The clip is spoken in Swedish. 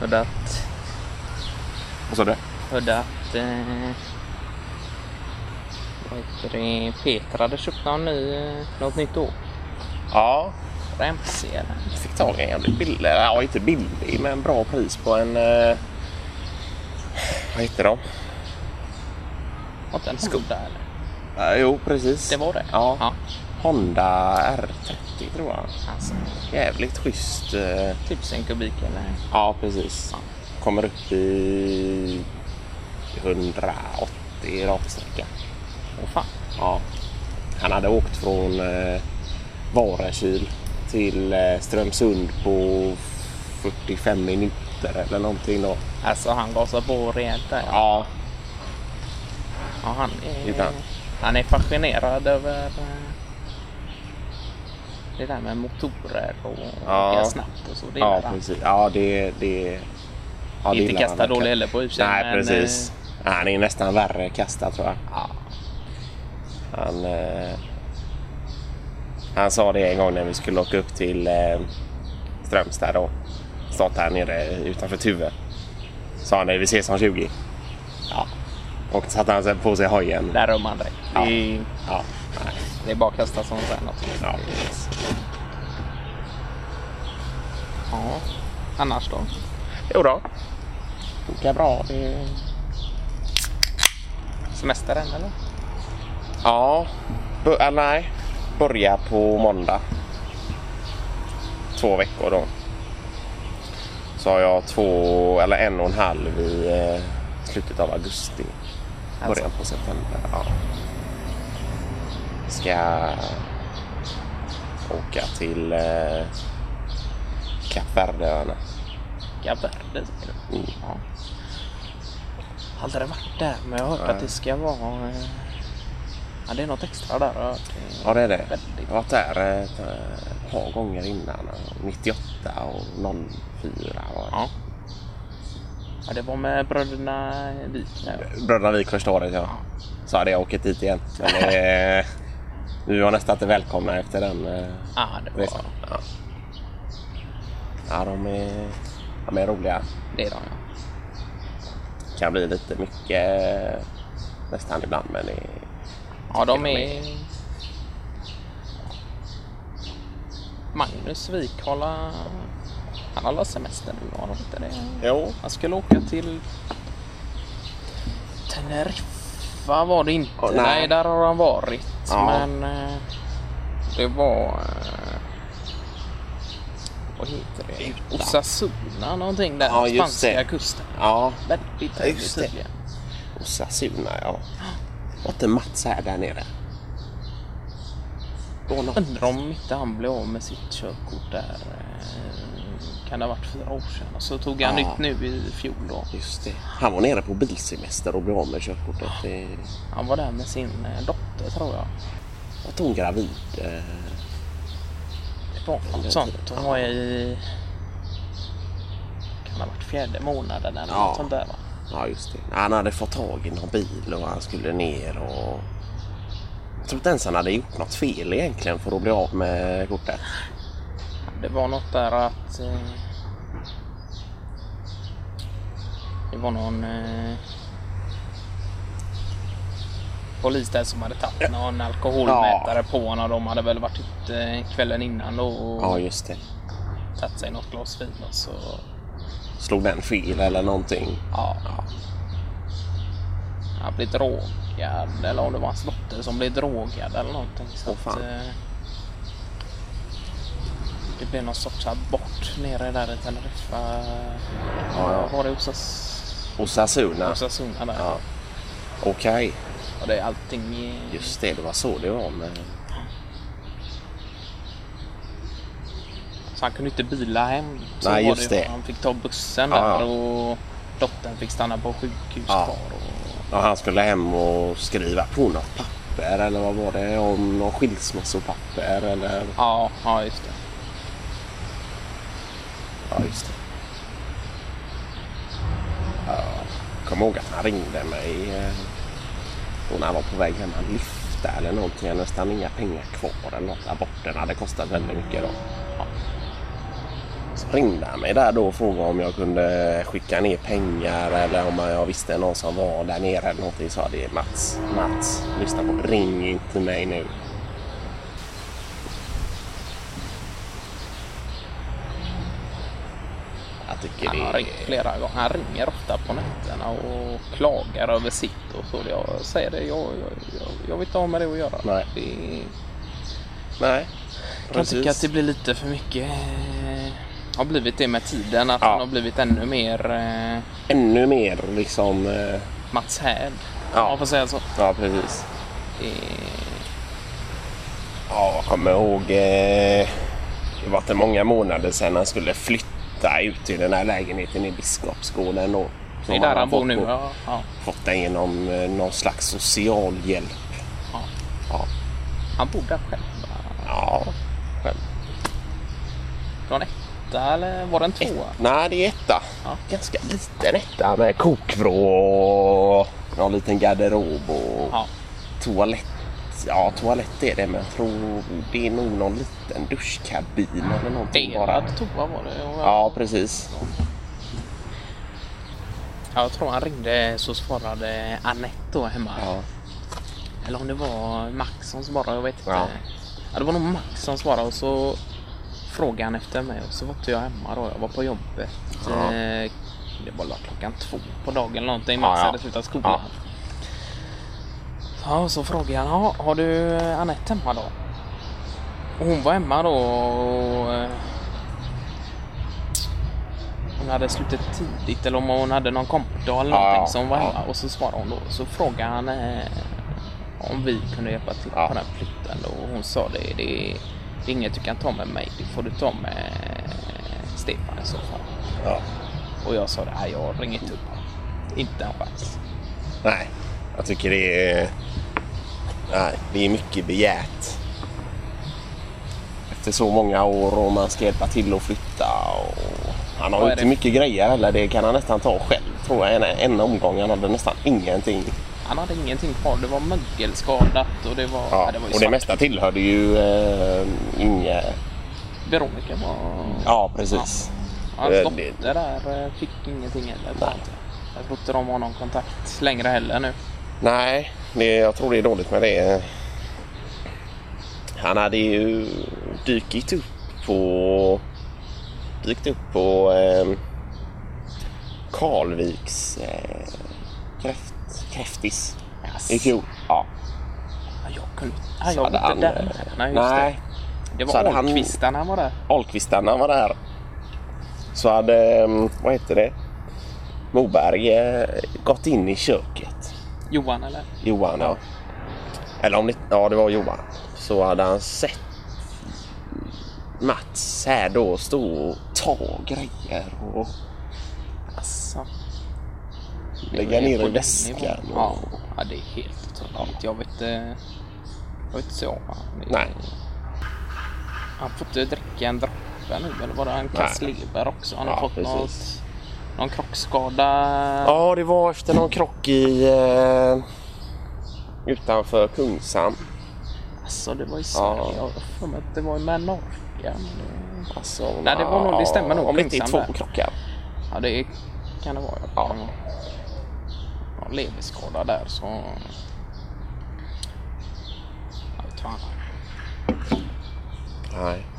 Hörde att... Vad sa du? Hörde att... Eh, vad heter det? Peter hade köpt någon ny, eh, något nytt åk. Ja, Ramsig eller? jag fick tag i en jävligt billig, ja inte billig, men bra pris på en... Eh, vad heter de? Var inte en Skoda eller? Eh, jo, precis. Det var det? Ja. ja. Honda R30 tror jag. Alltså, Jävligt schysst. eh, tusen kubik eller? Ja, precis. Ja. Kommer upp i 180 i raksträcka. Åh fan. Ja. Han hade åkt från eh, Varakil till eh, Strömsund på 45 minuter eller någonting då. Alltså han gasar på rejält där. Ja, Ja, han, är, Ibland. han är fascinerad över eh, det där med motorer och Ja. åka snabbt och så. Det ja gillar han. precis. Ja, det... det ja, det Inte gillar han kasta dålig verkligen. heller på u eh, Nej, precis. Han är nästan värre kasta tror jag. Ja, Han, eh, han sa det en gång när vi skulle åka upp till eh, Strömstad och starta här nere utanför Tuve. Sa han det, vi ses om 20. Ja. Och så satte han sig på sig hojen. där rör man direkt. Ja. Det, är- Ja. Nej. det är bara att kasta som sen också. Ja, precis. Ja. Annars då? Jo då. Funkar bra. Det... Semester än eller? Ja. Bu- ah, nej. Börja på måndag. Två veckor då. Så har jag två, eller en och en halv i eh, slutet av augusti. Alltså. Början på september. Ja. Ska åka till eh, Kap Verdeöarna. Kap Verde säger du? Mm. Ja. Aldrig varit där men jag har hört Nej. att det ska vara... eh, Ja, det är något extra där har jag hört. Ja, det är det. Väldigt. Jag har varit där eh, ett eh, par gånger innan. 98 och 04 var det. Ja. ja, det var med bröderna Wijk. där. Bröderna Wijk första året ja. Så hade jag åkt dit igen. Men eh, vi var nästan inte välkomna efter den eh, Ja, det var resan. Ja. Ja, de är, de är roliga. det är de ja. Kan bli lite mycket eh, nästan ibland men det är Ja, de de är... Magnus Wikhala, han har alla semester nu, har han inte det? Jo. Han skulle åka till Teneriffa var det inte. Åh, nej. nej. där har han varit. Ja. Men eh, det var... eh, Vad heter det? Utan. Osasuna någonting där. Ja, just Spanska det. kusten. Ja, Väldigt Ja, just trevligt det. tydligen. Osasuna ja. Var inte Mats här där nere? Då något. Undrar om inte han blev av med sitt körkort där. eh, Kan det ha varit fyra år sedan? Och så tog han Ja. nytt nu i fjol då. Just det. Han var nere på bilsemester och blev av med körkortet. Det- Han var där med sin eh, dotter tror jag. Var inte hon gravid? Eh, Det var något sånt. Hon var i... Kan ha varit fjärde månaden eller Ja. något sånt där va? Ja, just det. Han hade fått tag i någon bil och han skulle ner och... Jag tror inte ens han hade gjort något fel egentligen för att bli av med kortet. Det var något där att... eh, Det var någon... eh, Polis där som hade tagit någon alkoholmätare på honom och de hade väl varit ute kvällen innan då och Ja, just det. tagit sig något glas vin och så... Slog den fel eller någonting. Ja. Han blev drogad eller om det var hans dotter som blev drogad eller någonting. Så Åh, fan. eh, det blev någon sorts abort nere där i Teneriffa. Ja, ja. Var det Osas- Osasuna. Osasuna där? Ja. Okej. Och det är allting i... Just det, det var så det var med... Så han kunde inte bila hem. Så Nej, var just ju- det. Han fick ta bussen Ja, där ja. och dottern fick stanna på sjukhus Ja. kvar. Och... Ja, han skulle hem och skriva på något papper eller vad var det? Om någon skilsmässopapper eller... Ja, ja, just det. Ja, just det. Ja, kommer ihåg att han ringde mig eh, då när han var på väg hem. Han lyfte eller någonting. Han hade nästan inga pengar kvar eller något. Aborten hade kostat väldigt mycket då. Så ringde han mig där då och frågade om jag kunde skicka ner pengar eller om jag visste någon som var där nere eller någonting. Sa det är Mats. Mats, lyssna på Ring inte mig nu. Jag tycker Han har det är... ringt flera gånger. Han ringer ofta på nätterna och klagar över sitt och så. Jag säger det, jag, jag, jag, jag vill inte ha med det att göra. Nej. Det Nej, kan tycka att precis. det blir lite för mycket. eh, Har blivit det med tiden. Att Ja. han har blivit ännu mer eh, Ännu mer liksom... eh, Mats Härd. Ja. Om man får säga så. Ja, precis. Eh, Ja, jag kommer ihåg. Eh, det var inte många månader sedan han skulle flytta ut till den här lägenheten i Biskopsgården. Då, Det som är där har han bor fått nu. på- Ja, ja, Fått den genom eh, någon slags social hjälp. ja. Ja. Han bor där själv. va? ja. Själv. Det var en etta eller var det en tvåa? Nej, det är etta. Ja. Ganska liten etta med kokvrå och någon liten garderob och Ja. toalett. Ja, toalett är det, men jag tror det är nog någon liten duschkabin eller någonting bara. Delad toa var det. Och jag- Ja, precis. Ja, Jag tror han ringde så svarade Anette då hemma. Ja. Eller om det var Max som svarade, jag vet inte. Ja. Ja. det var nog Max som svarade och så frågade han efter mig och så var inte jag hemma då. Jag var på jobbet. Ja. Eh, Det var väl klockan två på dagen eller någonting. Max Ja, ja. hade slutat skolan. Ja. Ja. och så frågade han, "Ja, har du Anette hemma då? Och hon var hemma då och eh, hon hade slutat tidigt eller om hon hade någon kompdag eller Ja, någonting ja, som var ja. hemma. Och så svarade hon då. Så frågade han eh, om vi kunde hjälpa till Ja. på den här flytten då. Och hon sa det, det, det är inget du kan ta med mig. Det får du ta med eh, Stefan i så fall. Ja. Och jag sa det, "Nej, jag ringer inte upp honom. Inte en chans. Nej, jag tycker det är... Nej, det är mycket begärt. Efter så många år och man ska hjälpa till att flytta och... Han har Vad ju är inte det? mycket grejer heller. Det kan han nästan ta själv tror jag. En, en omgång. Han hade nästan ingenting. Han hade ingenting kvar. Det var mögelskadat och det var... Ja, det var ju och det svart. mesta tillhörde ju eh, Inge. Veronica var... Ja, precis. Hans Eh, dotter där eh, fick ingenting heller. tror jag inte. Jag tror inte de har någon kontakt längre heller nu. Nej, det, jag tror det är dåligt med det. Han hade ju dykt upp på... Dykt upp på eh, Karlviks eh, kräft, kräftis i fjol. Ja. Ja, Jag kunde ja, Så jag hade var inte han, där. eh, Nej, just nej, det. Det så var hade han- Ahlqvist när han var där. Ahlqvistarna var där. Så hade, eh, vad heter det, Moberg eh, gått in i köket. Johan eller? Johan, ja. Eller om det, ja, det var Johan. Så hade han sett Mats här då stå och ta grejer och Asså. Alltså, Det lägga är på ner i den väskan. nivån. Och, Ja. ja, det är helt otroligt. Jag vet eh, Jag vet inte så. han. Det- Nej. Han får inte dricka en droppe nu. Eller var det en kass Nej. lever också? Han har Ja, fått något, precis. någon krockskada. ja, det var efter någon krock i... Eh, utanför Kungshamn. Alltså det var i Sverige. Ja. Jag har för mig att det var med Norge. Men det... Alltså, Nej, det var nog- det stämmer nog, Om det inte är Kungshamn två där. krockar. Ja, det kan det vara. Ja. Ja, leverskada där så... Jag vet fan. Nej.